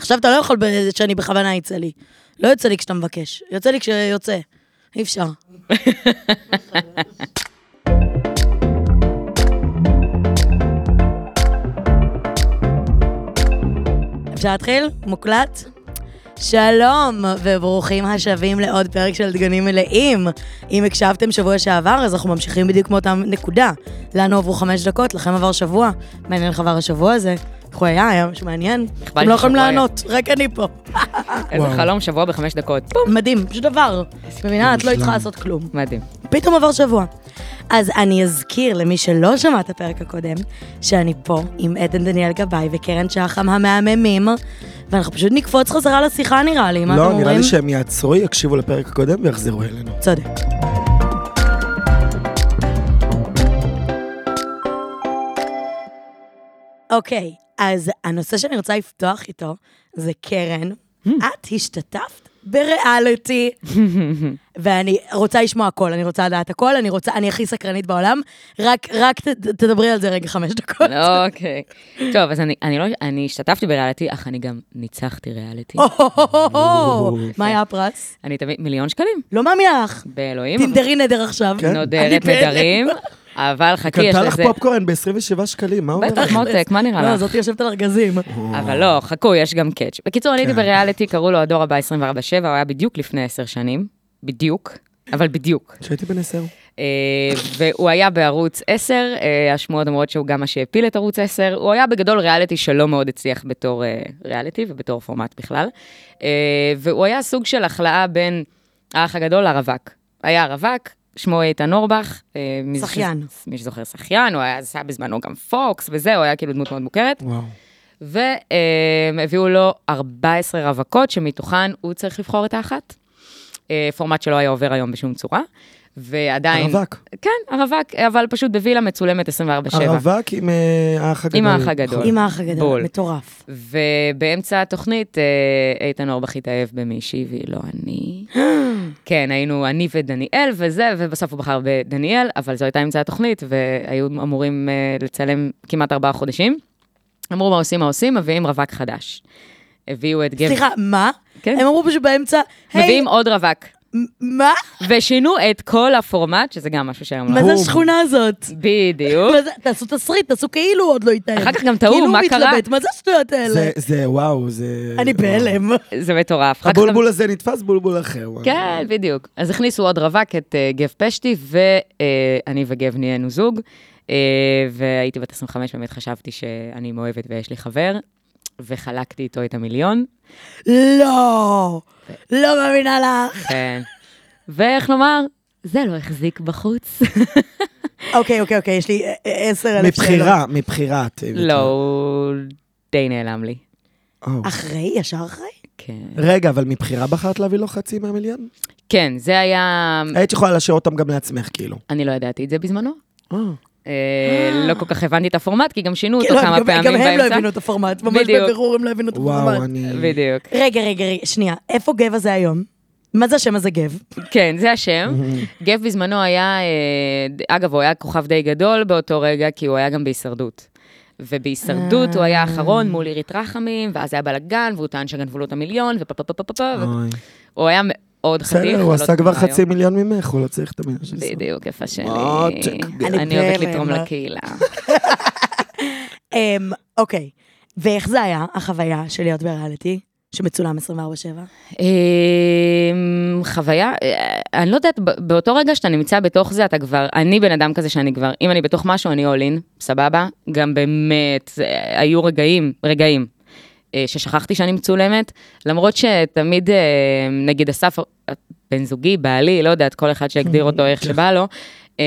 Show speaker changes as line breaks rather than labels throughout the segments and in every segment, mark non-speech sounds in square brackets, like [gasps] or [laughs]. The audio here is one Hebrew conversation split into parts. עכשיו אתה לא יכול ב- שאני בכוונה יצא לי. לא יוצא לי כשאתה מבקש, יוצא לי כשיוצא. אי אפשר. אפשר להתחיל? מוקלט? שלום, וברוכים השבים לעוד פרק של דגנים מלאים. אם הקשבתם שבוע שעבר, אז אנחנו ממשיכים בדיוק מאותה נקודה. לנו עברו חמש דקות, לכם עבר שבוע. מעניין איך עבר השבוע הזה. איך הוא היה, היה משהו מעניין.
לי
אתם לא יכולים
ששבוע היה.
לענות, רק אני פה.
איזה
וואו.
חלום, שבוע בחמש דקות. פום,
מדהים, פשוט עבר. מבינה, את לא
מושלם.
איתך לעשות כלום.
[laughs]
מדהים.
פתאום עבר שבוע. אז אני אזכיר למי שלא שמע את הפרק הקודם, שאני פה עם עדן דניאל גבאי וקרן שחם המהממים, ואנחנו פשוט נקפוץ חזרה לשיחה נראה לי, מה אתם
לא,
אומרים?
נראה לי שהם יעצרו, יקשיבו לפרק הקודם ויחזרו אלינו.
צודק. אוקיי, אז הנושא שאני רוצה לפתוח איתו זה קרן. את השתתפת בריאליטי, ואני רוצה לשמוע הכל, אני רוצה לדעת הכל, אני רוצה, אני הכי סקרנית בעולם, רק, רק ת, תדברי על זה רגע חמש דקות.
אוקיי. טוב, אז אני- אני לא, אני השתתפתי בריאליטי, אך אני גם ניצחתי ריאליטי.
אה.
מה היה הפרס?
אני תמיד, מיליון שקלים,
לא מאמינה לך.
באלוהים.
תנדרי נדר עכשיו.
כן.
אני
נודרת,
בהלם.
נדרים, אבל חכי, יש
קנתה כן. לך
לזה...
פופקורן ב-27 שקלים, מה אומר?
בטח, מותק, מה נראה
לא,
לך?
זאת יושבת על ארגזים.
אבל לא, חכו, יש גם קאץ'. בקיצור, אני הייתי
כן.
בריאליטי, קראו לו הדור הבא 24-7, הוא היה בדיוק לפני עשר שנים. בדיוק. אבל בדיוק.
כשהייתי בן עשר.
אה, והוא היה בערוץ 10, אה, השמועות אומרות שהוא גם מה שהפיל את ערוץ 10, הוא היה בגדול ריאליטי שלא מאוד הצליח בתור אה, ריאליטי ובתור פורמט בכלל, אה, והוא היה סוג של החלאה בין האח הגדול לרווק. היה רווק, שמו איתן אורבך. אה, מי ש-
שחיין.
מי שזוכר שחיין, הוא היה עשה בזמנו גם פוקס וזה, הוא היה כאילו דמות מאוד מוכרת.
וואו.
והביאו לו 14 רווקות, שמתוכן הוא צריך לבחור את האחת. אה, פורמט שלא היה עובר היום בשום צורה, ועדיין...
הרווק.
כן, הרווק, אבל פשוט בווילה מצולמת 24-7.
הרווק עם אה, האח הגדול.
עם האח הגדול.
עם האח הגדול,
בול.
מטורף.
ובאמצע התוכנית, אה, איתן אורבך התאהב במישהי, והיא לא אני. כן, היינו אני ודניאל וזה, ובסוף הוא בחר בדניאל, אבל זו הייתה אמצע התוכנית, והיו אמורים אה, לצלם כמעט ארבעה חודשים. אמרו מה עושים, מה עושים, מביאים רווק חדש. הביאו את גבר...
סליחה, מה?
כן.
הם אמרו פשוט באמצע, היי,
מביאים עוד רווק.
מ- מה?
ושינו את כל הפורמט, שזה גם משהו שהם
מה
לא...
זה
בום.
השכונה הזאת?
בדיוק.
מה זה- תעשו תסריט, תעשו כאילו עוד לא התאם.
אחר כך גם טעו, מה
כאילו
קרה?
הוא מתלבט, מה זה השטויות האלה?
זה- זה וואו, זה...
אני בהלם.
זה מטורף. אחר כך גם-
הבולבול הזה נתפס בולבול אחר. וואו.
אוקיי.
כן, בדיוק. אז הכניסו עוד רווק, את אה, גב פשטי, ואני וגב נהיינו זוג, אה, והייתי בת 25, באמת חשבתי שאני מאוהבת ויש לי חבר, וחלקתי איתו
[laughs]
את המיליון,
לא, לא מאמינה לך.
כן. ואיך לומר, זה לא החזיק בחוץ.
אוקיי, אוקיי, אוקיי, יש לי א- א- עשר אלף שאלות.
מבחירה, מבחירה. את-
לא, הוא די נעלם לי.
או.
אחרי, ישר אחרי?
כן.
אה. רגע, אבל מבחירה בחרת להביא לו חצי מהמיליון?
כן, זה היה...
היית יכולה להשאיר אותם גם לעצמך, כאילו.
אני לא ידעתי את זה בזמנו.
אה.
אה, לא כל כך הבנתי את הפורמט, כי גם שינו אותו
כאילו,
כמה
גם-
פעמים
גם
באמצע.
הם לא הבינו את הפורמט, ממש
בדיוק.
בבירור הם לא הבינו את
וואו,
הפורמט.
אני...
בדיוק.
רגע, רגע, רגע, שנייה, איפה גב הזה היום? מה זה השם הזה גב?
כן, זה השם. גב בזמנו היה, אה, אגב, הוא היה כוכב די גדול באותו רגע, כי הוא היה גם בהישרדות. ובהישרדות הוא היה האחרון מול עירית רחמים, ואז היה בלאגן, והוא טען שגנבו לו את המיליון, ופה פה פה פה פה פה, ו-
אוי.
הוא היה מאוד חתיך.
אה. בסדר, הוא
ולא
עשה כבר
טוב היום.
חצי מיליון ממך, הוא לא צריך את המיליון של ישראל.
בדיוק, איפה שלי.
מותק,
אני
אני
אוהבת
בהלם.
לתרום לקהילה.
אמ, אוקיי, ואיך זה היה, החוויה של להיות בריאליטי, שמצולם 24/7?
אמ, חוויה, אה, אני לא יודעת, ב- באותו רגע שאתה נמצא בתוך זה, אתה כבר, אני בן אדם כזה שאני כבר, אם אני בתוך משהו, אני all in, סבבה? גם באמת, אה, היו רגעים, רגעים, אה, ששכחתי שאני מצולמת, למרות שתמיד, אה, נגיד אסף, אה, בן זוגי, בעלי, לא יודעת, כל אחד שיגדיר אותו איך שבא לו, אמ,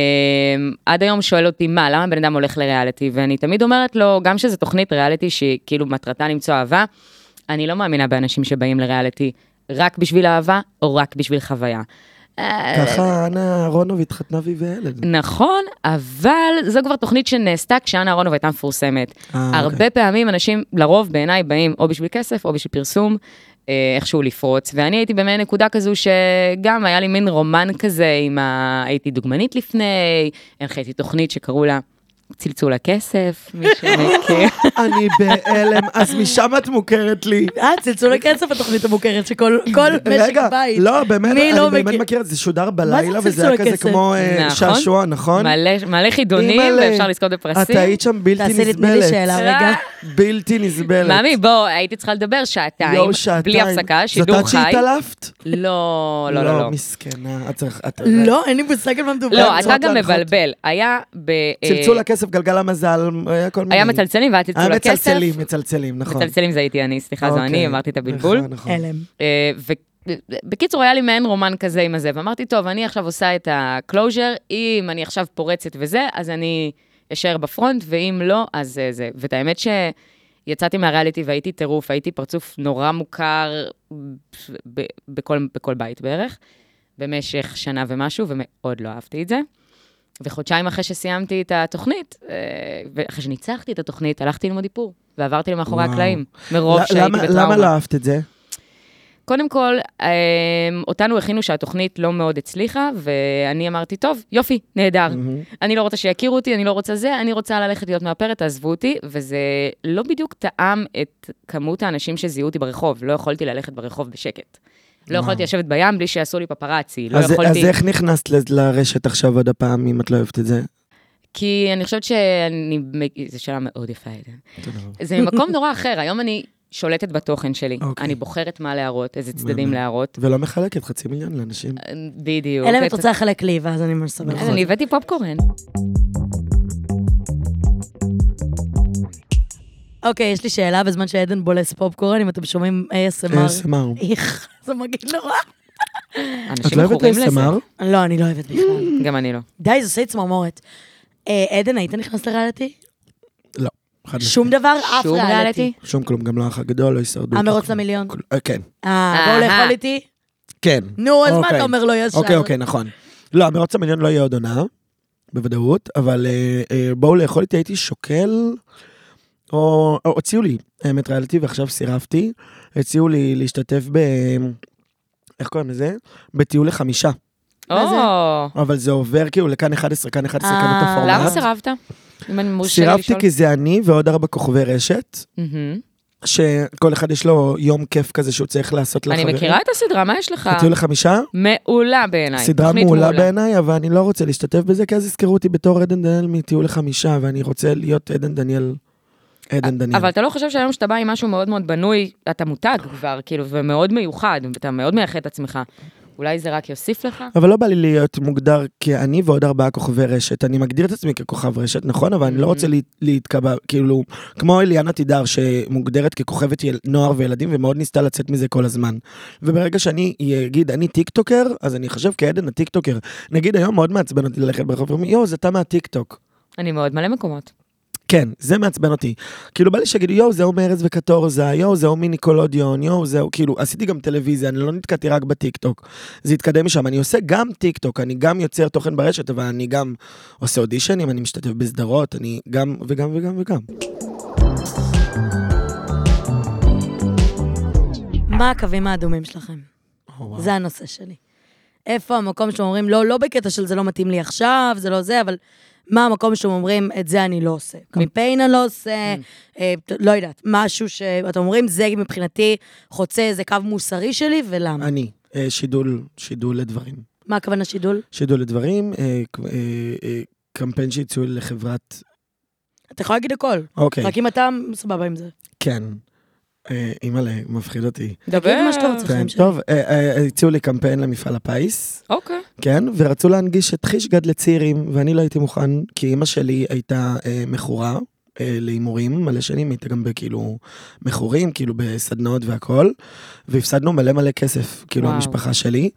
עד היום שואל אותי, מה, למה בן אדם הולך לריאליטי? ואני תמיד אומרת לו, גם שזו תוכנית ריאליטי שהיא כאילו מטרתה למצוא אהבה, אני לא מאמינה באנשים שבאים לריאליטי רק בשביל אהבה או רק בשביל חוויה. אה,
ככה אנה אהרונוב התחתנה והיא וילד.
נכון, אבל זו כבר תוכנית שנעשתה כשאנה אהרונוב הייתה מפורסמת.
אה, אוקיי.
הרבה פעמים אנשים, לרוב בעיניי, באים או בשביל כסף או בשביל פרסום, אה, איכשהו לפרוץ. ואני הייתי במעין נקודה כזו שגם היה לי מין רומן כזה עם ה... הייתי דוגמנית לפני, הנחיתי תוכנית שקראו לה צלצול הכסף,
[laughs]
מישהו
נכון.
מכיר.
אוקיי. אני בהלם, אז משם את מוכרת לי.
אה, צלצול הכסף התוכנית המוכרת שכל כל משק
רגע,
בית.
לא, באמת,
מי
אני
לא
באמת
מכיר?
מכיר את זה, שודר בלילה, וזה
צלצול
היה כזה
הכסף?
כמו אה,
נכון.
שעשוע, נכון?
מלא- מלא חידונים,
אימא'לה,
ואפשר לזכות בפרסים.
את היית שם בלתי
תעשה לי,
נסבלת.
תני לי שאלה רגע.
בלתי נסבלת.
מאמי, בוא, הייתי צריכה לדבר שעתיים,
יואו, שעתיים.
בלי הפסקה, שידור
זאת את
חי.
שהתעלפת?
לא, לא, לא, לא.
מסכנה, את צריכה... את-
לא, אין לי מושג על מה מדובר.
לא, אתה
צריכות
גם
להנחות.
מבלבל. היה ב... אה,
צלצול הכסף, גלגל המזל, היה כל מיני.
היה מצלצלים והיה צלצול
היה
הכסף.
מצלצלים, מצלצלים, נכון.
מצלצלים זה הייתי אני, סליחה, זו אני,
אוקיי.
אמרתי את הבלבול.
נכון, נכון.
הלם.
אה, ו- בקיצור, היה לי מעין רומן כזה עם הזה, ואמרתי, טוב, אני עכשיו עושה את הקלוז'ר, אם אני עכשיו פורצת וזה, אז אני אשאר בפרונט, ואם לא, אז אה, זה. ואת האמת שיצאתי מהריאליטי והייתי טירוף, הייתי פרצוף נורא מוכר ב- בכל, בכל בית בערך, במשך שנה ומשהו, ומאוד לא אהבתי את זה. וחודשיים אחרי שסיימתי את התוכנית, אה, ואחרי שניצחתי את התוכנית, הלכתי ללמוד איפור, ועברתי למאחורי
וואו.
הקלעים,
ל-
מרוב שהייתי
למה-
בטראומה.
למה לא אהבת את זה?
קודם כל, אה, אותנו הכינו שהתוכנית לא מאוד הצליחה, ואני אמרתי, טוב, יופי, נהדר.
Mm-hmm.
אני לא רוצה שיכירו אותי, אני לא רוצה זה, אני רוצה ללכת להיות מאפרת, תעזבו אותי, וזה לא בדיוק טעם את כמות האנשים שזיהו אותי ברחוב. לא יכולתי ללכת ברחוב בשקט. לא
וואו.
יכולתי לשבת בים בלי שיעשו לי פפראצי. לא
אז- אז
יכולתי...
איך נכנסת ל- לרשת עכשיו עוד הפעם, אם את לא אוהבת את זה?
כי אני חושבת שאני... זו שאלה מאוד יפה, עדן.
תודה רבה.
זה ממקום נורא אחר, היום אני שולטת בתוכן שלי.
אוקיי.
אני בוחרת מה להראות, איזה צדדים
מהמם.
להראות.
ולא מחלקת חצי מיליון לאנשים.
בדיוק.
אלא אם את
את-
רוצה לחלק לי, ואז אני ממש סבבה.
אז אני הבאתי פופקורן.
אוקיי, יש לי שאלה בזמן שעדן בולס פופקורן, אם אתם שומעים ASMR.
ASMR.
איך, זה מגעיל נורא.
את
אנשים
לא אוהבת
מכורים לזה.
ASMR?
לא, אני לא אוהבת בכלל.
גם אני לא.
די, זה עושה לי צמרמורת. אה, עדן, היית נכנס לריאליטי?
לא. חד משמעית.
שום דבר, אף לא
שום ריאליטי?
ריאליטי.
שום כלום, גם לא האח הגדול, לא הישרדות.
המרוץ
לא-
למיליון.
כל- אה, כן,
אה, בואו
אהה.
לאכול איתי.
כן.
נו, אז מה
אוקיי.
אתה אומר לו ישר?
אוקיי, אוקיי, נכון. לא, המרוץ למיליון לא יהיה עוד עונה, בוודאות, אבל אה, אה, בואו לאכול איתי, הייתי שוקל, או או- הוציאו לי, האמת ריאליטי, ועכשיו סירבתי, הציעו לי להשתתף ב... איך קוראים לזה? בטיול לחמישה.
מה זה?
או,
אבל זה עובר כאילו לכאן 11, כאן 11, כאן
אה.
את הפורמט.
למה סירבת? אם אני מורשה
סירבתי
לשאול.
כי זה אני ועוד ארבע כוכבי רשת,
מהמם.
שכל אחד יש לו יום כיף כזה שהוא צריך לעשות לחברים.
אני מכירה את הסדרה, מה יש לך?
הטיול לחמישה?
מעולה בעיניי.
סדרה
תוכנית
מעולה בעיניי, אבל אני לא רוצה להשתתף בזה, כי אז יזכרו אותי בתור עדן דניאל מטיול לחמישה, ואני רוצה להיות עדן דניאל, עדן דניאל.
אבל אתה לא חושב שהיום שאתה בא עם משהו מאוד מאוד בנוי, אתה מותג כבר, כאילו, ומאוד מיוחד, אתה מאוד מייחד את עצמך. אולי זה רק יוסיף לך?
אבל לא בא לי להיות מוגדר כאני ועוד ארבעה כוכבי רשת. אני מגדיר את עצמי ככוכב רשת, נכון? אבל אני לא
Mm-hmm.
רוצה לה- להתקבע, כאילו, כמו אליאנה תידר, שמוגדרת ככוכבת יל- נוער וילדים, ומאוד ניסתה לצאת מזה כל הזמן. וברגע שאני אגיד, אני טיקטוקר, אז אני אחשב כעדן הטיקטוקר. נגיד היום מאוד מעצבן אותי ללכת ברחוב, ואומרים, יואו, זה אתה מהטיקטוק.
אני מאוד מלא מקומות.
כן, זה מעצבן אותי. כאילו בא לי שיגידו, יואו, זהו מארז וקטורזה, יואו, זהו מניקולודיון, יואו, זהו, כאילו, עשיתי גם טלוויזיה, אני לא נתקעתי רק בטיקטוק. זה התקדם משם, אני עושה גם טיקטוק, אני גם יוצר תוכן ברשת, אבל אני גם עושה אודישנים, אני משתתף בסדרות, אני גם וגם וגם וגם.
מה הקווים האדומים שלכם?
וואו.
זה הנושא שלי. איפה המקום שאתם אומרים, לא, לא בקטע של זה לא מתאים לי עכשיו, זה לא זה, אבל מה המקום שאתם אומרים, את זה אני לא עושה. קמפיין אני לא עושה, אה, ת- לא יודעת, משהו שאתם אומרים, זה מבחינתי חוצה איזה קו מוסרי שלי, ולמה?
אני, אה, שידול, שידול לדברים.
מה הכוונה שידול?
שידול לדברים, אה, ק- אה, אה, קמפיין שיצאו לחברת...
אתה יכול להגיד הכל,
אוקיי,
רק אם אתה סבבה עם זה.
כן. אה, אימא'לה, מפחיד אותי.
תגיד מה שאתה רוצה,
כן,
חיים שלי.
טוב, אה, אה, הציעו לי קמפיין למפעל הפיס.
אוקיי.
כן, ורצו להנגיש את חישגד לצעירים, ואני לא הייתי מוכן, כי אימא שלי הייתה אה, מכורה אה, להימורים מלא שנים, הייתה גם בכאילו מכורים, כאילו בסדנאות והכל, והפסדנו מלא מלא כסף, כאילו
וואו.
וואו. המשפחה שלי,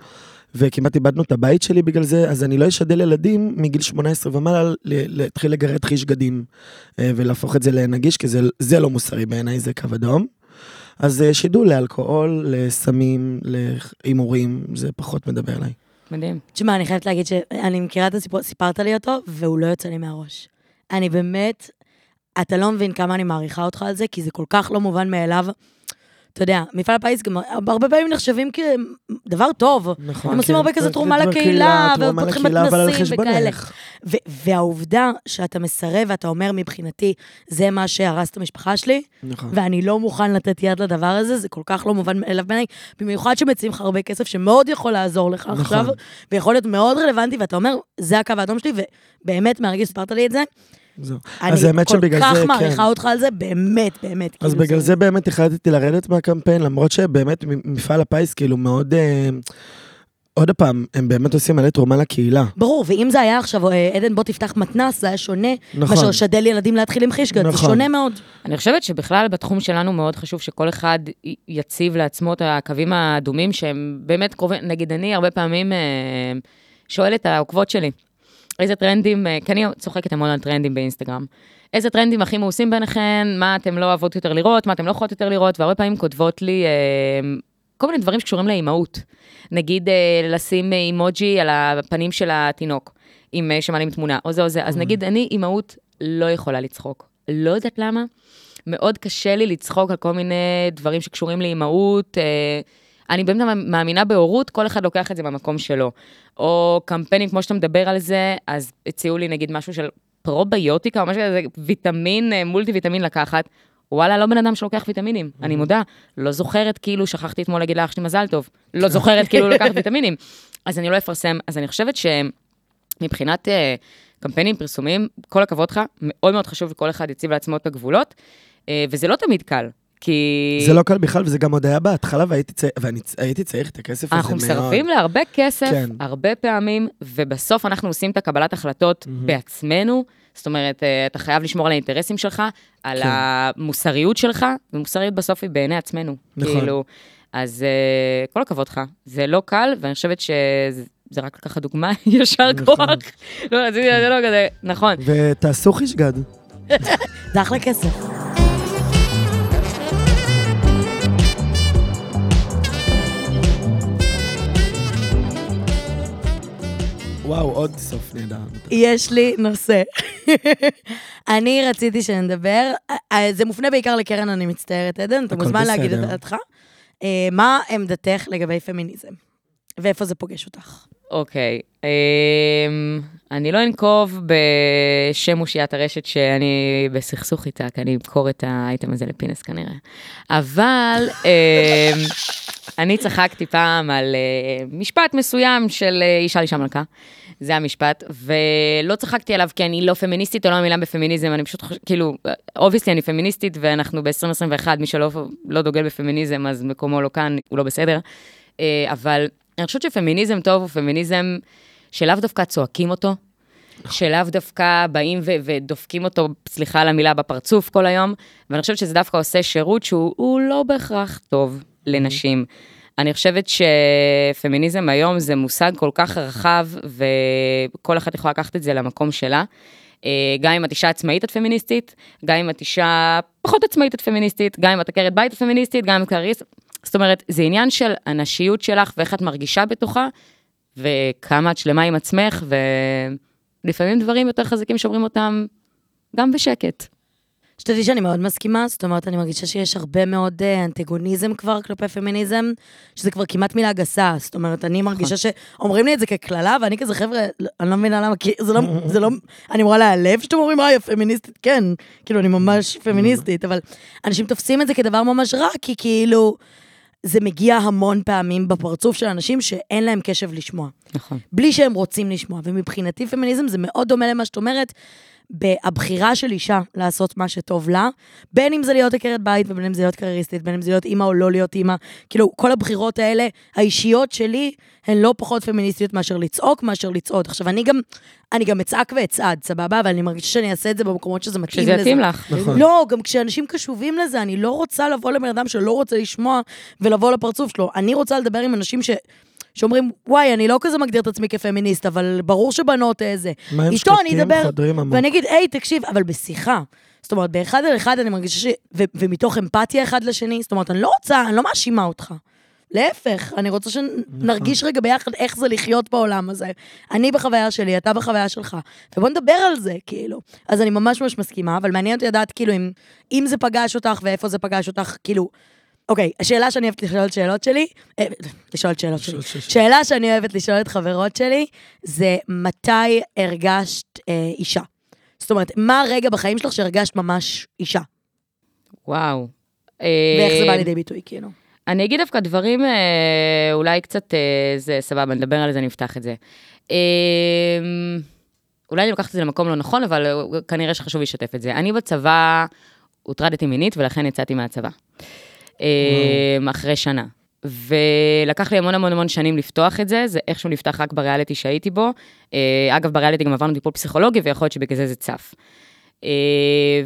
וכמעט איבדנו את הבית שלי בגלל זה, אז אני לא אשדל ילדים מגיל 18 ומעלה ל- להתחיל לגרד חישגדים, אה, ולהפוך את זה לנגיש, כי זה, זה לא מוסרי בעיניי, זה קו אדום. אז אה, שידול לאלכוהול, לסמים, להימורים, זה פחות מדבר אליי.
מדהים.
תשמע, אני חייבת להגיד שאני מכירה את הסיפור, סיפרת לי אותו, והוא לא יוצא לי מהראש. אני באמת, אתה לא מבין כמה אני מעריכה אותך על זה, כי זה כל כך לא מובן מאליו. אתה יודע, מפעל הפיס גם הרבה פעמים נחשבים כדבר טוב.
נכון.
הם עושים
כן.
הרבה כזה
זה- זה
תרומה
דבר
לקהילה,
תרומה
ופותחים
לקהילה, אבל על
מתנסים וכאלה.
חשבונך.
ו- והעובדה שאתה מסרב ואתה אומר, מבחינתי, זה מה שהרס את המשפחה שלי,
נכון.
ואני לא מוכן לתת יד לדבר הזה, זה כל כך לא מובן מאליו בעיניי, במיוחד שמציעים לך הרבה כסף שמאוד יכול לעזור לך
נכון.
עכשיו, ויכול להיות מאוד רלוונטי, ואתה אומר, זה הקו האדום שלי, ובאמת, מהרגע שהסברת לי את זה,
זהו. אז
אני
האמת
כל
שבגלל
כך
זה, כן.
מעריכה אותך על זה, באמת, באמת.
אז
כאילו,
בגלל זה באמת החלטתי לרדת מהקמפיין, למרות שבאמת מ- מפעל הפיס כאילו מאוד... אה, עוד פעם, הם באמת עושים מלא תרומה לקהילה.
ברור, ואם זה היה עכשיו, אה, עדן, בוא תפתח מתנ"ס, זה היה שונה.
נכון.
מאשר שדל ילדים להתחיל עם חישגת, זה
נכון.
שונה מאוד.
אני חושבת שבכלל בתחום שלנו מאוד חשוב שכל אחד י- יציב לעצמו את הקווים האדומים שהם באמת קרובים, נגיד אני הרבה פעמים אה, שואל את העוקבות שלי, איזה טרנדים, אה, כי אני צוחקת המון על טרנדים באינסטגרם, איזה טרנדים הכי מאוסים ביניכן, מה אתם לא אוהבות יותר לראות, מה אתם לא יכולות יותר לראות, והרבה פעמים כותבות לי אה, כל מיני דברים שקשורים לאימהות. נגיד אה, לשים אימוג'י על הפנים של התינוק, אם אה, שמעלים תמונה, או זה או זה. אז נגיד, אני אימהות לא יכולה לצחוק. לא יודעת למה. מאוד קשה לי לצחוק על כל מיני דברים שקשורים לאימהות. אה, אני באמת מאמינה בהורות, כל אחד לוקח את זה במקום שלו. או קמפיינים, כמו שאתה מדבר על זה, אז הציעו לי נגיד משהו של פרוביוטיקה, או משהו כזה, ויטמין, אה, מולטי ויטמין לקחת. וואלה, לא בן אדם שלוקח ויטמינים,
Mm-hmm.
אני מודה. לא זוכרת כאילו, שכחתי אתמול להגיד לאח שלי מזל טוב. לא זוכרת כאילו
[laughs]
לקחת ויטמינים. אז אני לא אפרסם. אז אני חושבת שמבחינת אה, קמפיינים, פרסומים, כל הכבוד לך, מאוד מאוד חשוב שכל אחד יציב לעצמו את הגבולות, אה, וזה לא תמיד קל, כי...
זה לא קל בכלל, וזה גם עוד היה בהתחלה, והייתי צעיר, ואני צ- הייתי צריך את הכסף הזה מאוד.
אנחנו מסרבים להרבה כסף,
כן.
הרבה פעמים, ובסוף אנחנו עושים את הקבלת החלטות
מהמם.
בעצמנו. זאת אומרת, אה, אתה חייב לשמור על האינטרסים שלך, על
כן.
המוסריות שלך, ומוסריות בסוף היא בעיני עצמנו.
נכון.
כאילו, אז אה, כל הכבוד לך. זה לא קל, ואני חושבת שזה זה רק ככה דוגמה, [laughs] ישר
נכון.
כוח. לא, רציתי, זה לא כזה, נכון.
ותעשו חישגד.
זה אחלה כסף.
וואו, עוד סוף נהדר.
יש לי נושא. [laughs] אני רציתי שנדבר, אה, זה מופנה בעיקר לקרן, אני מצטערת, עדן, אתה
הכל
מוזמן
בסדר.
להגיד את דעתך. אה, מה עמדתך לגבי פמיניזם? ואיפה זה פוגש אותך?
אוקיי, אמ, אני לא אנקוב בשם אושיית הרשת שאני בסכסוך איתה, כי אני אמכור את האייטם הזה לפינס כנראה. אבל אמ, אני צחקתי פעם על אה, משפט מסוים של אה, אישה לאישה מלכה. זה המשפט, ולא צחקתי עליו כי אני לא פמיניסטית, או לא המילה בפמיניזם, אני פשוט חושבת, כאילו, אובייסלי אני פמיניסטית, ואנחנו ב-2021, מי שלא לא דוגל בפמיניזם, אז מקומו לא כאן, הוא לא בסדר. אה, אבל אני חושבת שפמיניזם טוב הוא פמיניזם שלאו דווקא צועקים אותו, שלאו דווקא באים ו- ודופקים אותו, סליחה על המילה, בפרצוף כל היום, ואני חושבת שזה דווקא עושה שירות שהוא הוא לא בהכרח טוב לנשים. אני חושבת שפמיניזם היום זה מושג כל כך רחב, וכל אחת יכולה לקחת את זה למקום שלה. אה, גם אם את אישה עצמאית את פמיניסטית, גם אם את אישה פחות עצמאית את פמיניסטית, גם אם את עקרת בית את פמיניסטית, גם אם את קריסט. זאת אומרת, זה עניין של הנשיות שלך ואיך את מרגישה בתוכה, וכמה את שלמה עם עצמך, ולפעמים דברים יותר חזקים שאומרים אותם גם בשקט.
שתדעי שאני מאוד מסכימה, זאת אומרת, אני מרגישה שיש הרבה מאוד אה, אנטגוניזם כבר כלפי פמיניזם, שזה כבר כמעט מילה גסה. זאת אומרת, אני מרגישה שאומרים לי את זה כקללה, ואני כזה, חבר'ה, לא- אני לא מבינה למה, כי זה לא, זה לא, אני אמורה להיעלב שאתם אומרים, אה, היא פמיניסטית, כן, כאילו, אני ממש פמיניסטית, אבל אנשים תופסים את זה כדבר ממש רע, כי כאילו, זה מגיע המון פעמים בפרצוף של אנשים שאין להם קשב לשמוע.
נכון.
בלי שהם רוצים לשמוע. ומבחינתי פמיניזם זה מאוד דומה למה שאת אומרת, הבחירה של אישה לעשות מה שטוב לה, בין אם זה להיות עקרת בית ובין אם זה להיות קרייריסטית, בין אם זה להיות אימא או לא להיות אימא, כאילו, כל הבחירות האלה, האישיות שלי, הן לא פחות פמיניסטיות מאשר לצעוק, מאשר לצעוד. עכשיו, אני גם, אני גם אצעק ואצעד, סבבה? אבל אני מרגישה שאני אעשה את זה במקומות שזה מתאים
שזה
לזה.
יתאים לך.
נכון.
לא, גם כשאנשים קשובים לזה, אני לא רוצה לבוא לבן אדם שלא רוצה לשמוע ולבוא לפרצוף שלו. אני רוצה לדבר עם אנשים ש... שאומרים, וואי, אני לא כזה מגדיר את עצמי כפמיניסט, אבל ברור שבנות אה, זה.
מה הם
איתו אני
שקטים,
אדבר,
חודרים עמוק.
ואני אגיד, היי, תקשיב, אבל בשיחה. זאת אומרת, באחד על אחד אני מרגישה ש... ו- ומתוך אמפתיה אחד לשני, זאת אומרת, אני לא רוצה, אני לא מאשימה אותך. להפך, אני רוצה שנרגיש רגע ביחד איך זה לחיות בעולם הזה. אני בחוויה שלי, אתה בחוויה שלך, ובוא נדבר על זה, כאילו. אז אני ממש ממש מסכימה, אבל מעניין אותי לדעת, כאילו, אם, אם זה פגש אותך ואיפה זה פגש אותך, כאילו, אוקיי, השאלה שאני אוהבת לשאול את שאלות שלי, אה, לשאול את שאלות שלי.
ש- ש- ש-
שאלה שאני אוהבת לשאול את חברות שלי, זה מתי הרגשת אה, אישה? זאת אומרת, מה הרגע בחיים שלך שהרגשת ממש אישה?
וואו.
ואיך זה בא
אה,
לידי ביטוי, כאילו?
אני אגיד דווקא דברים אה, אולי קצת, אה, זה סבבה, נדבר על זה, נפתח את זה. אה, אולי אני לוקחת את זה למקום לא נכון, אבל אה, כנראה שחשוב לשתף את זה. אני בצבא הוטרדתי מינית, ולכן יצאתי מהצבא. אה, אחרי שנה. ולקח לי המון המון המון שנים לפתוח את זה, זה איכשהו נפתח רק בריאליטי שהייתי בו. אה, אגב, בריאליטי גם עברנו טיפול פסיכולוגי, ויכול להיות שבגלל זה זה צף. אה,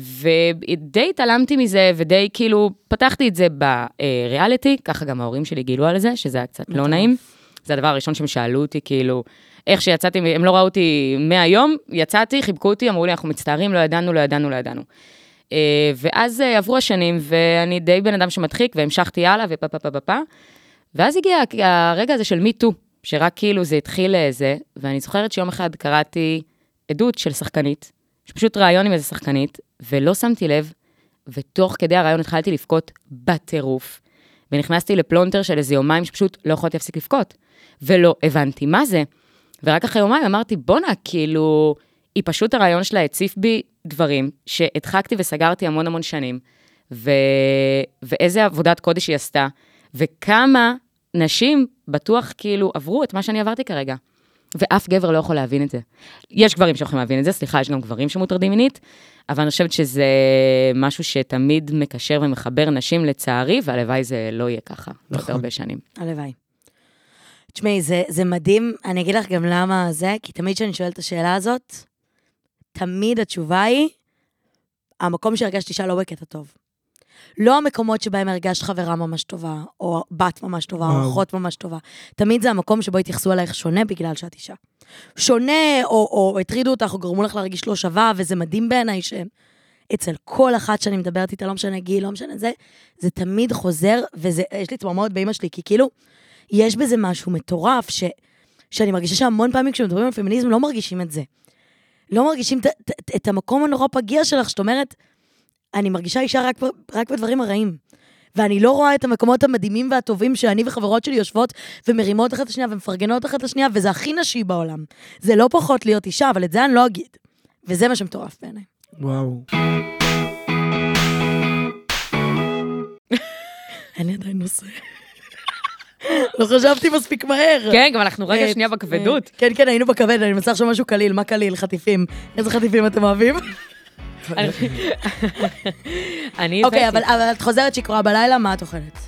ודי התעלמתי מזה, ודי כאילו פתחתי את זה בריאליטי, ככה גם ההורים שלי גילו על זה, שזה היה קצת לא נעים. זה הדבר הראשון שהם שאלו אותי, כאילו, איך שיצאתי, מ- הם לא ראו אותי מהיום, יצאתי, חיבקו אותי, אמרו לי, אנחנו מצטערים, לא ידענו, לא ידענו, לא ידענו. אה, ואז אה, עברו השנים, ואני די בן אדם שמדחיק, והמשכתי הלאה, ופה פה פה פה פה. ואז הגיע הרגע הזה של מי טו, שרק כאילו זה התחיל אה, זה, ואני זוכרת שיום אחד קראתי עדות של שחקנית, שפשוט ראיון עם איזה שחקנית, ולא שמתי לב, ותוך כדי הראיון התחלתי לבכות בטירוף, ונכנסתי לפלונטר של איזה יומיים שפשוט לא יכולתי להפסיק לבכות, ולא הבנתי מה זה. ורק אחרי יומיים אמרתי, בואנה, כאילו, היא פשוט הרעיון שלה הציף בי דברים שהדחקתי וסגרתי המון המון שנים, ו... ואיזה עבודת קודש היא עשתה, וכמה נשים בטוח כאילו עברו את מה שאני עברתי כרגע. ואף גבר לא יכול להבין את זה. יש גברים שיכולים להבין את זה, סליחה, יש גם גברים שמוטרדים מינית, אבל אני חושבת שזה משהו שתמיד מקשר ומחבר נשים לצערי, והלוואי זה לא יהיה ככה. נכון. עוד
נכון.
הרבה שנים.
הלוואי. תשמעי, זה, זה מדהים, אני אגיד לך גם למה זה, כי תמיד כשאני שואלת את השאלה הזאת, תמיד התשובה היא, המקום שהרגשת אישה לא בקטע טוב. לא המקומות שבהם הרגשת חברה ממש טובה, או בת ממש טובה, או
וואו.
אחות ממש טובה. תמיד זה המקום שבו התייחסו אלייך שונה בגלל שאת אישה. שונה, או, או הטרידו אותך, או גרמו לך להרגיש לא שווה, וזה מדהים בעיניי ש... אצל כל אחת שאני מדברת איתה, לא משנה גיל, לא משנה זה, זה תמיד חוזר, ויש לי צמרמורת באימא שלי, כי כאילו, יש בזה משהו מטורף, ש, שאני מרגישה שהמון פעמים כשמדברים על פמיניזם לא מרגישים את זה. לא מרגישים את, את, את המקום הנורא פגיע שלך, זאת אומרת, אני מרגישה אישה רק, ב- רק בדברים הרעים. ואני לא רואה את המקומות המדהימים והטובים שאני וחברות שלי יושבות ומרימות אחת את השנייה ומפרגנות אחת את השנייה, וזה הכי נשי בעולם. זה לא פחות להיות אישה, אבל את זה אני לא אגיד. וזה מה שמטורף בעיניי.
וואו.
אין לי עדיין נושא. לא חשבתי מספיק מהר.
כן, גם אנחנו רגע
אה,
שנייה
אה,
בכבדות.
כן, כן, היינו בכבד, אני מנסה עכשיו משהו קליל, מה קליל? חטיפים. איזה חטיפים אתם אוהבים?
אני
אוקיי, אבל אבל את חוזרת שיכורה בלילה, מה את אוכלת?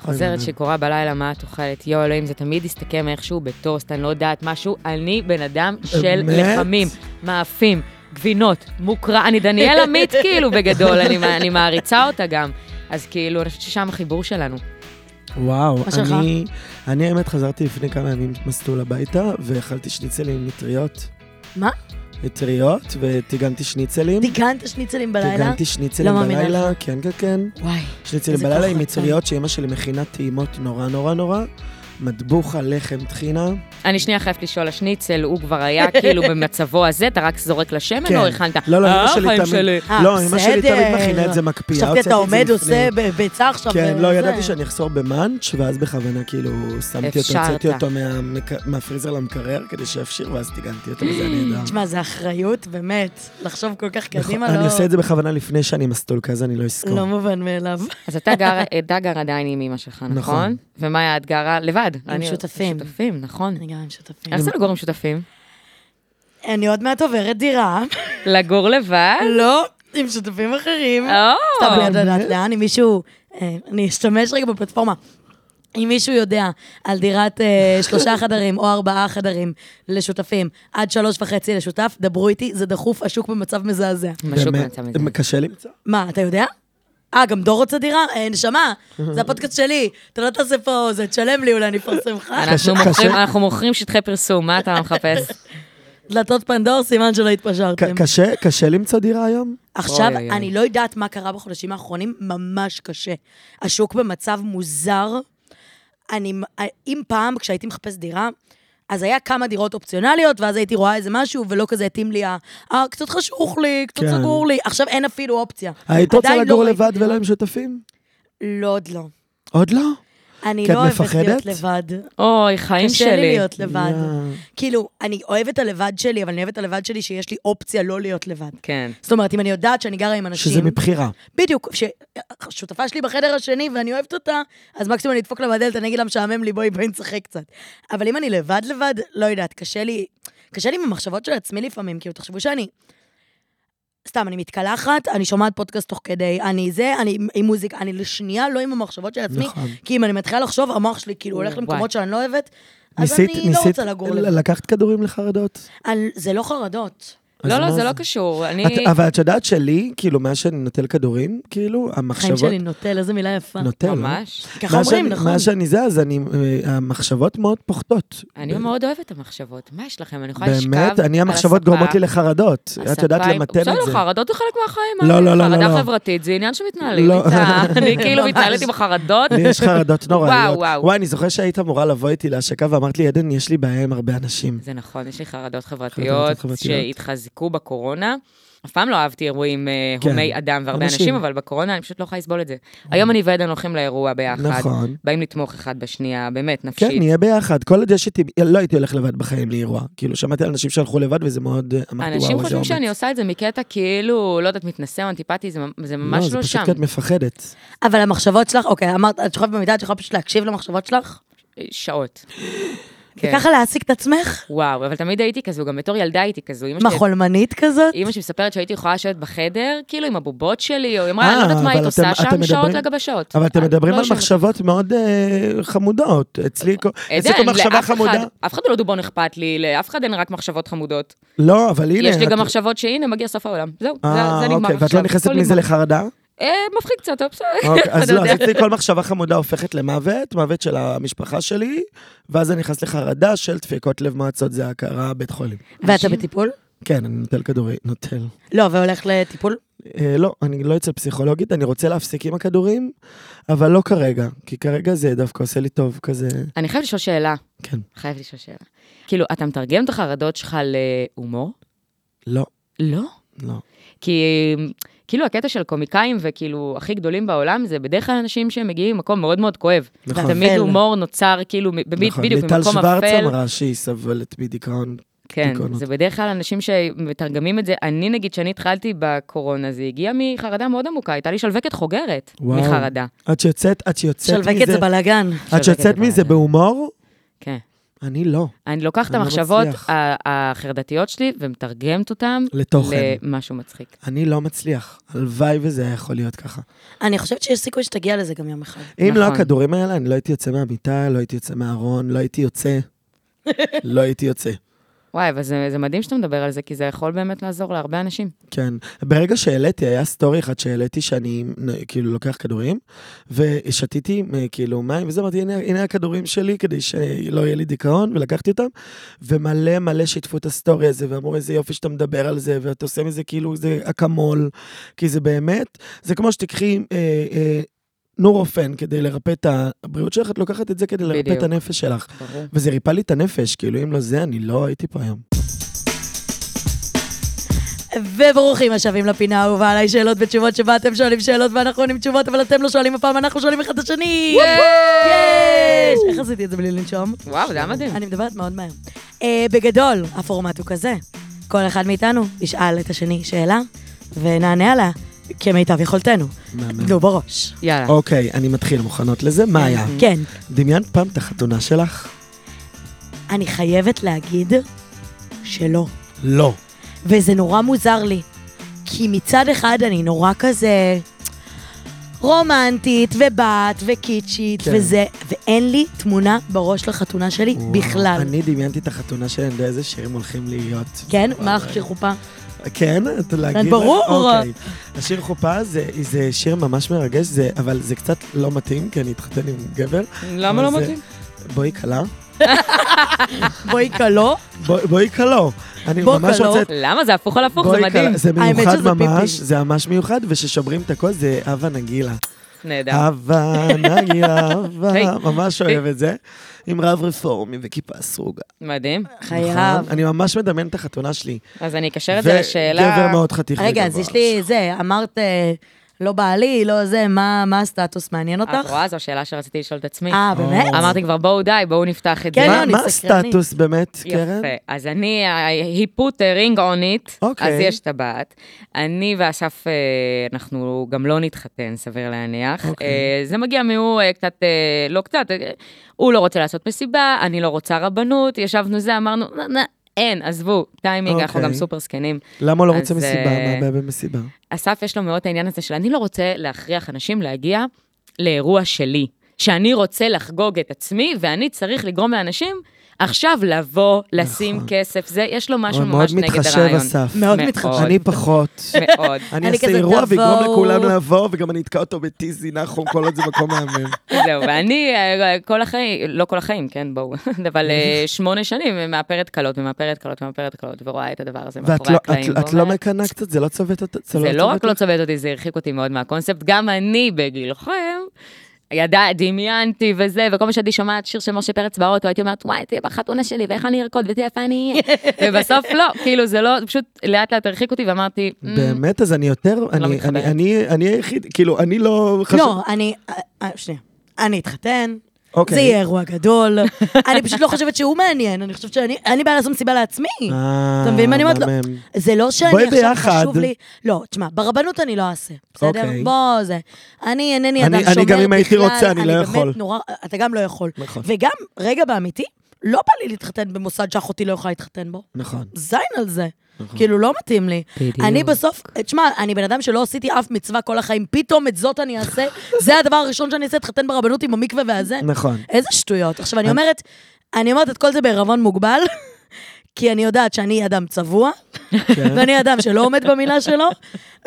חוזרת שיכורה בלילה, מה את אוכלת? יואו, אלוהים, זה תמיד יסתכם איכשהו בטוסט, אני לא יודעת משהו. אני בן אדם של
באמת?
לחמים, מאפים, גבינות, מוקרא. אני דניאל [laughs] עמית, כאילו, בגדול, אני מע- אני מעריצה אותה גם. אז כאילו, אני חושבת ששם החיבור שלנו.
וואו,
מה שלך?
אני, אני האמת חזרתי לפני כמה ימים מסלול הביתה, ואכלתי שניצלים עם מטריות.
מה?
מטריות, וטיגנתי שניצלים.
דיגנת שניצלים בלילה?
טיגנתי שניצלים
לא מאמינה
בלילה, כן, כן, כן.
וואי.
שניצלים
איזה כן.
בלילה
כוח
עם
רצון.
מטריות שאימא שלי מכינה טעימות נורא נורא נורא. מטבוחה, לחם, טחינה.
לא
אני שנייה חייבת לשאול, השניצל, הוא כבר היה [laughs] כאילו במצבו הזה, אתה רק זורק לשמן
כן.
או הכנת?
לא, לא,
אה,
אמא שלי
חיים
תמיד-
שלי.
אה,
לא, אמא שלי
בסדר.
תמיד מכינה את זה מקפיאה.
חשבתי
הוצאתי
אתה
את
עומד,
זה
עושה
לפני.
ב- ביצה עכשיו.
כן,
וזה.
לא, ידעתי שאני אחזור במאנץ', ואז בכוונה כאילו שמתי אותו,
אפשרת.
הוצאתי אותו מהמק- מהפריזר למקרר כדי שיפשיר, ואז טיגנתי אותו, וזה היה נהדר.
Mm, תשמע, זה אחריות, באמת. לחשוב כל כך
נכון,
קדימה,
אני עושה את
לא-
זה בכוונה לפני שאני מסטול, כי אז אני לא אזכור.
לא מובן מאליו.
אז אתה גר, [laughs] אתה גר עדיין עם אמא שלך, נכון?
נכון.
ומה היה, את גרה לבד? אני-
שותפים.
שותפים, נכון.
אני גם עם שותפים.
איך זה לגור עם שותפים?
אני עוד מעט עוברת דירה.
לגור לבד?
לא, עם שותפים אחרים.
אה, או,
לא.
לא,
סתם בלי יד לדעת לאן, אם מישהו, אה, אני אשתמש רגע בפלטפורמה. אם מישהו יודע על דירת אה,
[laughs]
שלושה חדרים או ארבעה חדרים לשותפים, עד שלוש וחצי לשותף, דברו איתי, זה דחוף, השוק במצב מזעזע.
משהו
באמת,
במצב הזה.
קשה למצוא.
מה, אתה יודע? אה, גם דור רוצה דירה? אה, נשמה, זה הפודקאסט שלי, אתה לא תעשה פה, זה תשלם לי, אולי אני אפרסם לך.
אנחנו
קשה-
מוכרים-
קשה.
אנחנו מוכרים שטחי פרסום, מה אתה
[laughs]
מחפש?
דלתות פנדור, סימן שלא התפשרתם.
ק- קשה, קשה למצוא דירה היום?
עכשיו,
אוי, אוי, אוי.
אני לא יודעת מה קרה בחודשים האחרונים, ממש קשה. השוק במצב מוזר. אני, אם פעם, כשהייתי מחפש דירה, אז היה כמה דירות אופציונליות, ואז הייתי רואה איזה משהו, ולא כזה התאים לי ה... אה, קצת חשוך לי, קצת
כן.
סגור לי. עכשיו אין אפילו אופציה.
היית רוצה
עדיין לא
לגור
ראיתי
לבד
דירה.
ולא עם שותפים?
לא, עוד לא.
עוד לא?
אני
כי את
לא אוהבת להיות
מפחדת? לא.
לבד.
אוי, חיים שלי.
קשה לי להיות לבד.
יא.
כאילו, אני אוהבת את הלבד שלי, אבל אני אוהבת את הלבד שלי שיש לי אופציה לא להיות לבד.
כן.
זאת אומרת, אם אני יודעת שאני גרה עם אנשים...
שזה מבחירה.
בדיוק, ששותפה שלי בחדר השני ואני אוהבת אותה, אז מקסימום אני אדפוק לה בדלת, אני אגיד לה, משעמם לי, בואי, בואי נשחק קצת. אבל אם אני לבד לבד, לא יודעת, קשה לי, קשה לי עם המחשבות של עצמי לפעמים, כאילו, תחשבו שאני... סתם, אני מתקלחת, אני שומעת פודקאסט תוך כדי, אני זה, אני עם מוזיקה, אני לשנייה לא עם המחשבות של עצמי,
נכון.
כי אם אני מתחילה לחשוב, המוח שלי כאילו הולך
וואי.
למקומות שאני לא אוהבת, אז
ניסית,
אני לא
ניסית
רוצה לגור
ל-
לבד.
לקחת כדורים לחרדות?
אני- זה לא חרדות.
אז
לא, לא,
מה
זה לא קשור. אני...
את- אבל את יודעת שלי, כאילו, מאז שאני נוטל כדורים, כאילו,
חיים
המחשבות...
שלי נוטל, איזה מילה יפה.
נוטל. לא?
ממש.
ככה
מאז
אומרים,
שאני-
נכון?
מאז שאני זה, אז אני, אה, המחשבות מאוד פוחתות.
אני מאוד אוהבת את המחשבות. מה יש לכם? אני יכולה לשכב על הספה.
באמת, אני, המחשבות גורמות לי לחרדות. את יודעת
הספה עם-
למתן את זה.
בסדר, חרדות זה חלק מהחיים.
לא,
מה זה?
לא, לא, לא,
חרדה
לא.
חברתית זה עניין שמתנהלים
לא.
איתה.
[laughs]
אני כאילו
ממש.
מתנהלת עם החרדות.
לי יש
[laughs]
חרדות נוראיות.
וואו, וואו.
וואי, אני זוכר שהיית אמורה לבוא איתי להשקה ואמרת לי, עדן, יש לי בעיה עם הרבה אנשים.
זה נכון, יש לי חרדות
חרדות
חברתיות
חברתיות.
שהתחזקו בקורונה. אף פעם לא אהבתי אירועים אה,
כן.
הומי אדם והרבה
אנשים.
אנשים, אבל בקורונה אני פשוט לא יכולה לסבול את זה. היום אני ועדן הולכים לאירוע ביחד.
נכון.
באים לתמוך אחד בשנייה, באמת,
כן,
נפשית.
נהיה ביחד. כל עוד יש איתי, לא הייתי הולך לבד בחיים לאירוע. כאילו, שמעתי על אנשים שהלכו לבד וזה מאוד, אה, אמרתי, וואו,
אנשים
איזה
חושבים
אומץ.
שאני עושה את זה מקטע כאילו, לא יודעת, מתנשא או אנטיפטי, זה ממ- זה ממש
זה
לא
פשוט
שם.
כי את מפחדת.
אבל המחשבות שלך, אוקיי, אמרת, את שוכבת במיטה, את יכולה פשוט להקשיב למחשבות שלך?
אה,
[gasps]
שעות. כן.
וככה להעסיק את עצמך?
וואו, אבל תמיד הייתי כזו, גם בתור ילדה הייתי כזו. אמא
מה,
נכון.
שלי-
חולמנית כזאת?
אמא שלי מספרת שהייתי יכולה לשבת בחדר, כאילו עם הבובות שלי, או היא אמרה, אני לא
אה,
יודעת מה היית
אבל
עושה
אתם-
שם,
אתם
שעות
מדברים-
לגבי שעות.
אבל אתם
אני
מדברים
לא
על
יושבת.
מחשבות מאוד אה, חמודות. אצלי כל-
אה, עדן,
אצלי כל מחשבה
לאף אחד-
חמודה.
אף אחד לא דובון אכפת לי, לאף אחד אין רק מחשבות חמודות.
לא, אבל הנה.
יש לי
את-
גם מחשבות שהנה, מגיע סוף העולם. זהו, זה-
אה,
זה נגמר
אוקיי,
עכשיו.
ואת לא נכנסת
הכל
מזה
נגמר. [laughs]
לחרדה?
אה, מפחיד קצת, אבל בסדר. [laughs]
אוקיי, אז
אתה
לא, אז
יודע.
אצלי כל מחשבה חמודה הופכת למוות, מוות של המשפחה שלי, ואז אני נכנס לחרדה של דפיקות לב מועצות, זה הכרה, בית חולים.
ואתה בטיפול?
כן, אני נוטל כדורים, נוטל.
לא, והולך לטיפול?
אה, לא, אני לא אצל פסיכולוגית, אני רוצה להפסיק עם הכדורים, אבל לא כרגע, כי כרגע זה דווקא עושה לי טוב כזה,
אני חייבת לשאול שאלה.
כן.
חייבת לשאול שאלה. כאילו, אתה מתרגם את החרדות שלך להומור?
לא,
לא.
לא.
כי כאילו הקטע של קומיקאים וכאילו הכי גדולים בעולם זה בדרך כלל אנשים שמגיעים ממקום מאוד מאוד כואב.
נכון.
תמיד
אפל.
הומור נוצר כאילו, מ- במי-
נכון,
בדיוק,
ליטל
ממקום
שוורץ
אפל.
אמרה שהיא סבלת מדיכאון.
כן,
דיכאונות.
זה בדרך כלל אנשים שמתרגמים את זה. אני נגיד, כשאני התחלתי בקורונה, זה הגיע מחרדה מאוד עמוקה, הייתה לי שלווקת חוגרת
וואו.
מחרדה.
את שיוצאת, את שיוצאת
שלווקת
מזה,
זה בלאגן.
את שיוצאת
שלווקת זה בעיה.
מזה בהומור?
כן.
אני לא.
אני לוקחת את
אני לא
המחשבות
מצליח.
ה- החרדתיות שלי ומתרגמת אותן
לתוכן.
למשהו מצחיק.
אני לא מצליח. הלוואי וזה היה יכול להיות ככה.
אני חושבת שיש סיכוי שתגיע לזה גם יום אחד.
אם לא
נכון.
הכדורים האלה, אני לא הייתי יוצא מהמיטה, לא הייתי יוצא מהארון, לא הייתי יוצא. לא הייתי יוצא.
וואי, אבל זה זה מדהים שאתה מדבר על זה, כי זה יכול באמת לעזור להרבה אנשים.
כן. ברגע שהעליתי, היה סטורי אחד שהעליתי שאני נ- כאילו לוקח כדורים, ושתיתי אה, כאילו מים, וזה אמרתי, הנה, הנה הכדורים שלי כדי שלא יהיה לי דיכאון, ולקחתי אותם, ומלא מלא שיתפו את הסטורי הזה, ואמרו, איזה יופי שאתה מדבר על זה, ואתה עושה מזה כאילו זה אקמול, כי זה באמת, זה כמו שתיקחי... אה, אה, נורופן כדי לרפא את הבריאות שלך, את לוקחת את זה כדי לרפא את
בדיוק.
הנפש שלך.
ברור.
וזה ריפא לי את הנפש, כאילו, אם לא זה, אני לא הייתי פה היום.
וברוכים השבים לפינה האהובה עליי שאלות ותשובות שבה אתם שואלים שאלות ואנחנו עונים תשובות, אבל אתם לא שואלים הפעם, אנחנו שואלים אחד את השני. יש! איך עשיתי את זה בלי לנשום?
וואו, זה היה מדהים.
אני מדברת מאוד מהר. אה, בגדול, הפורמט הוא כזה. כל אחד מאיתנו ישאל את השני שאלה, ונענה עליה כמיטב יכולתנו.
מהמם.
תנו בראש.
יאלה.
אוקיי, אני מתחיל, מוכנות לזה? מה היה?
כן,
דמיינת פעם את החתונה שלך?
אני חייבת להגיד שלא.
לא.
וזה נורא מוזר לי. כי מצד אחד אני נורא כזה רומנטית ובת וקיצ'ית
כן.
כן. וזה, ואין לי תמונה בראש לחתונה שלי
וואו,
בכלל. אני...
אני דמיינתי את החתונה שלי, אני יודע איזה שירים הולכים להיות.
כן?
וואו,
מה לך של חופה?
כן? אתה להגיד?
ברור.
אוקיי. השיר חופה זה, זה שיר ממש מרגש, זה, אבל זה קצת לא מתאים, כי אני אתחתן עם גבר.
למה לא
אבל זה-
מתאים?
בואי כלה.
בואי קלו.
בוא- בואי כלו. אני
בוא
ממש
כלו.
רוצה... את-
למה? זה הפוך על הפוך, זה
בואי
מדהים.
כלה. זה
האמת
מיוחד
שזה פיפי.
ממש, זה ממש מיוחד, וששומרים את הכל זה אווה נגילה.
נהדר.
אה, אהבה, נגי
היי.
אהבה, ממש אוהב את זה. עם רב רפורמי וכיפה סרוגה.
מדהים.
חייב.
נכון? אני ממש מדמיין את החתונה שלי.
אז אני אקשר את זה לשאלה...
וגבר מאוד חתיך.
רגע,
וגבוה.
אז יש לי זה, אמרת אה, לא בעלי, לא זה, מה מה הסטטוס מעניין
את
אותך?
אה, רואה? זו השאלה שרציתי לשאול את עצמי.
אה,
נכון.
באמת?
אמרתי כבר, בואו די, בואו נפתח את זה.
כן,
מה-
אני
מה
סקרנית.
הסטטוס באמת, לא, קרן?
יפה, אז אני, he put a ring on it,
אוקיי.
אז יש טבעת. אני ואסף, אה, אנחנו גם לא נתחתן, סביר להניח.
אוקיי.
אה, זה מגיע מהוא אה, קצת, אה, לא קצת, אה, הוא לא רוצה לעשות מסיבה, אני לא רוצה רבנות, ישבנו זה, אמרנו, "נ- נ- אין, עזבו, טיימינג, אנחנו
אוקיי.
גם סופר זקנים.
למה הוא לא
אז,
רוצה מסיבה?
אה,
מה הבעיה במסיבה?
אסף יש לו מאוד את העניין הזה של אני לא רוצה להכריח אנשים להגיע לאירוע שלי, שאני רוצה לחגוג את עצמי ואני צריך לגרום לאנשים עכשיו לבוא, לשים
נכון.
כסף, זה, יש לו משהו
הוא מאוד
ממש נגד הרעיון.
מתחשב, אסף.
מאוד מתחשב.
אני פחות.
[laughs] מאוד.
אני
אני
אעשה
כזה,
אירוע ויגרום
תבואו.
לכולם לבוא, וגם אני אתקע אותו בטיזי נחום, כל עוד זה מקום מהמם.
זהו, ואני אה, כל החיים, לא כל החיים, כן, בואו, [laughs] אבל אה, שמונה שנים מאפרת קלות ומאפרת קלות ומאפרת קלות, ורואה את הדבר הזה
ואת
מאחורי
לא-
הקלעים.
את- את לא
ואומרת,
מקנאה קצת? זה לא צובט אותך?
זה לא רק לא צובט אותי, זה הרחיק אותי מאוד מהקונספט. גם אני בגילכם, ידע, דמיינתי וזה, וכל פעם שהייתי שומעת שיר של משה פרץ באוטו, הייתי אומרת, וואי, תהיה בחתונה שלי, ואיך אני ארקוד, ותהיה יפה אני [laughs] אהיה. ובסוף לא, כאילו זה לא, זה פשוט לאט לאט הרחיק אותי, ואמרתי, "מ,
באמת? אז אני יותר, אני-
Mm. לא מתחברת.
אני- אני- אני היחיד, כאילו, אני לא חשב...
לא, אני... אה, אה, שנייה. אני אתחתן,
אוקיי.
זה יהיה אירוע גדול. [laughs] אני פשוט לא חושבת שהוא מעניין, אני חושבת שאני... אני באה לעשות מסיבה לעצמי.
אה,
אתה מבין מה אני אומרת? לא,
מהמם.
זה לא שאני
בואי
עכשיו
ביחד.
חשוב לי... לא, תשמע, ברבנות אני לא אעשה, בסדר?
אוקיי.
בוא, זה. אני אינני
אני-
אדם
אני
שומר
גם אם הייתי
בכלל,
רוצה, אני לא יכול.
באמת נורא... אתה גם לא יכול.
נכון.
וגם, רגע באמיתי, לא בא לי להתחתן במוסד שאחותי לא יכולה להתחתן בו.
נכון.
זין על זה. כאילו, לא מתאים לי.
בדיוק.
אני בסוף, תשמע, אני בן אדם שלא עשיתי אף מצווה כל החיים, פתאום את זאת אני אעשה, זה הדבר הראשון שאני אעשה, אתחתן ברבנות עם המקווה והזה.
נכון.
איזה שטויות. עכשיו, אני אומרת, אני אומרת את כל זה בעירבון מוגבל, [laughs] כי אני יודעת שאני אדם צבוע, [laughs] ואני אדם שלא עומד במילה שלו,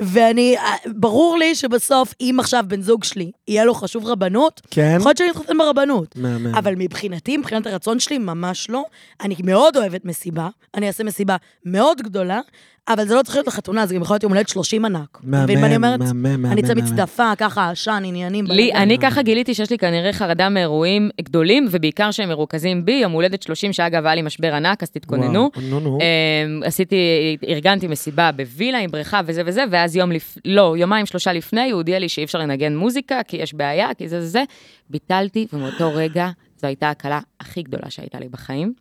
ואני, אה, ברור לי שבסוף, אם עכשיו בן זוג שלי, יהיה לו חשוב רבנות,
כן?
יכול להיות שאני אתחתן ברבנות.
מהמם.
אבל מבחינתי, מבחינת הרצון שלי, ממש לא. אני מאוד אוהבת מסיבה, אני אעשה מסיבה מאוד גדולה, אבל זה לא צריך להיות לחתונה, זה גם יכול להיות יום הולדת 30 ענק. אתה מבין מה אני
מהמם,
אומרת?
מהמם, מהמם.
אני אצא
מהמם.
מצדפה, ככה, עשן, עניינים.
לי,
בלגן.
אני ככה גיליתי שיש לי כנראה חרדה מאירועים גדולים, ובעיקר שהם מרוכזים בי, יום הולדת 30, שאגב, היה לי משבר ענק, אז תתכוננו.
וואו, נו, נו.
אמ, עשיתי, ארגנתי מסיבה בווילה עם בריכה וזה וזה, ואז יום לפ... לא, יומיים שלושה לפני, הוא הודיע לי שאי אפשר לנגן מוזיקה, כי יש בעיה, כי זה זה זה. ביטלתי, ומאותו רגע זו הייתה ההקלה הכי גדולה שהייתה לי בחיים.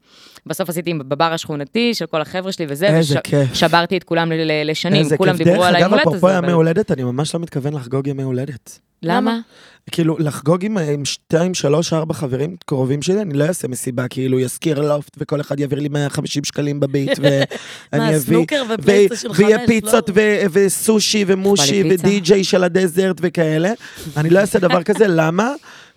בסוף עשיתי בבר השכונתי של כל החבר'ה שלי וזה,
איזה כיף.
שברתי את כולם ל- ל- לשנים,
איזה
כולם
כיף.
דיברו עליי
דרך אגב, אפרופו ימי
אבל-
הולדת, אני ממש לא מתכוון לחגוג ימי הולדת.
למה?
כאילו, לחגוג עם, עם שתיים, שלוש, ארבע חברים קרובים שלי, אני לא אעשה מסיבה, כאילו, יזכיר לופט, וכל אחד יעביר לי 150 שקלים בביט,
[laughs]
מה,
ואני אביא...
סנוקר
ו-
ופלייסטיישן חמש,
ויהיה
לא?
פיצות ו- וסושי ומושי
לי פיצה.
ודי-ג'יי של הדזרט וכאלה. אני לא אעשה דבר
[laughs]
כזה, למה?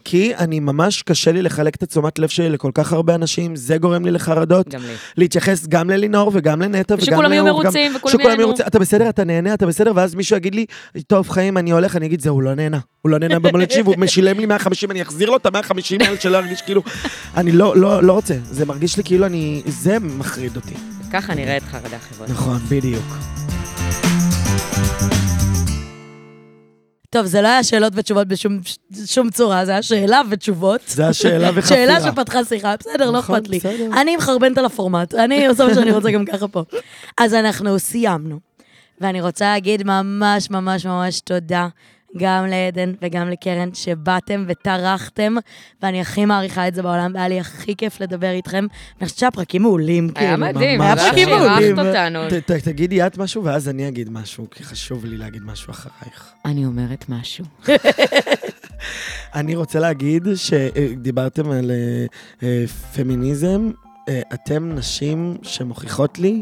כי אני ממש, קשה לי לחלק את התשומת לב שלי לכל כך הרבה אנשים, זה גורם לי לחרדות.
גם לי.
להתייחס גם ללינור וגם לנטע וגם
ושכולם יהיו
לאור, וגם-
מרוצים וכולם
שכולם יהיו
ייהנו.
מרוצים, אתה בסדר, אתה נהנה, אתה בסדר, ואז מישהו יגיד לי, טוב חיים, אני הולך, אני אגיד, זהו, הוא לא נהנה. הוא לא נהנה במולד שלי, והוא משילם לי 150, אני אחזיר לו את ה-150 האלה שלא ירגיש כאילו... אני לא, לא, לא רוצה. זה מרגיש לי כאילו אני... זה מחריד אותי.
ככה נראית חרדה חבר'ה.
נכון, בדיוק.
טוב, זה לא היה שאלות ותשובות בשום שום צורה, זה היה שאלה ותשובות.
[laughs]
זה השאלה
[laughs]
וחפירה.
שאלה שפתחה שיחה, בסדר, לא
נכון,
אכפת לי.
בסדר.
אני מחרבנת על הפורמט, אני [laughs] עושה מה שאני רוצה גם ככה פה. אז אנחנו סיימנו, ואני רוצה להגיד ממש ממש ממש תודה. גם לעדן וגם לקרן שבאתם וטרחתם, ואני הכי מעריכה את זה בעולם, והיה לי הכי כיף לדבר איתכם. אני חושבת שהפרקים מעולים, כאילו.
היה מדהים,
היה
כן, ממש
פשוט
מדהים.
אירחת אותנו.
ת- ת- תגידי את משהו ואז אני אגיד משהו, כי חשוב לי להגיד משהו אחרייך.
אני אומרת משהו.
אני רוצה להגיד שדיברתם על אה, אה, פמיניזם, אה, אתם נשים שמוכיחות לי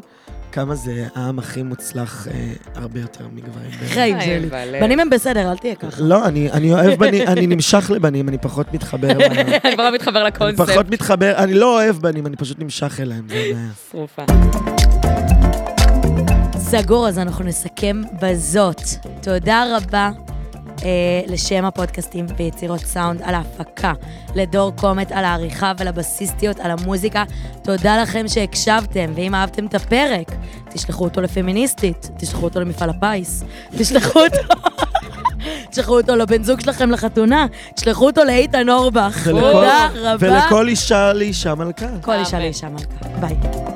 כמה זה העם הכי מוצלח אה, הרבה יותר מגברים.
חיים שלי.
אה,
בנים הם בסדר, אל תהיה ככה.
לא, אני, אני אוהב בנים, אני נמשך לבנים, אני פחות מתחבר. ל-
אני כבר לא [laughs] מתחבר
אני
לקונספט.
פחות מתחבר, אני לא אוהב בנים, אני פשוט נמשך אליהם, זה הבעיה.
שרופה.
סגור, אז אנחנו נסכם בזאת. תודה רבה אה, לשם הפודקאסטים ויצירות סאונד על ההפקה, לדור קומט על העריכה ולבסיסטיות על המוזיקה. תודה לכם שהקשבתם, ואם אהבתם את הפרק, תשלחו אותו לפמיניסטית, תשלחו אותו למפעל הפיס, תשלחו אותו... [laughs] תשלחו אותו לבן זוג שלכם לחתונה, תשלחו אותו לאיתן אורבך.
ולכל-
תודה רבה.
ולכל אישה לאישה מלכה.
כל אישה
אמן.
לאישה מלכה. ביי.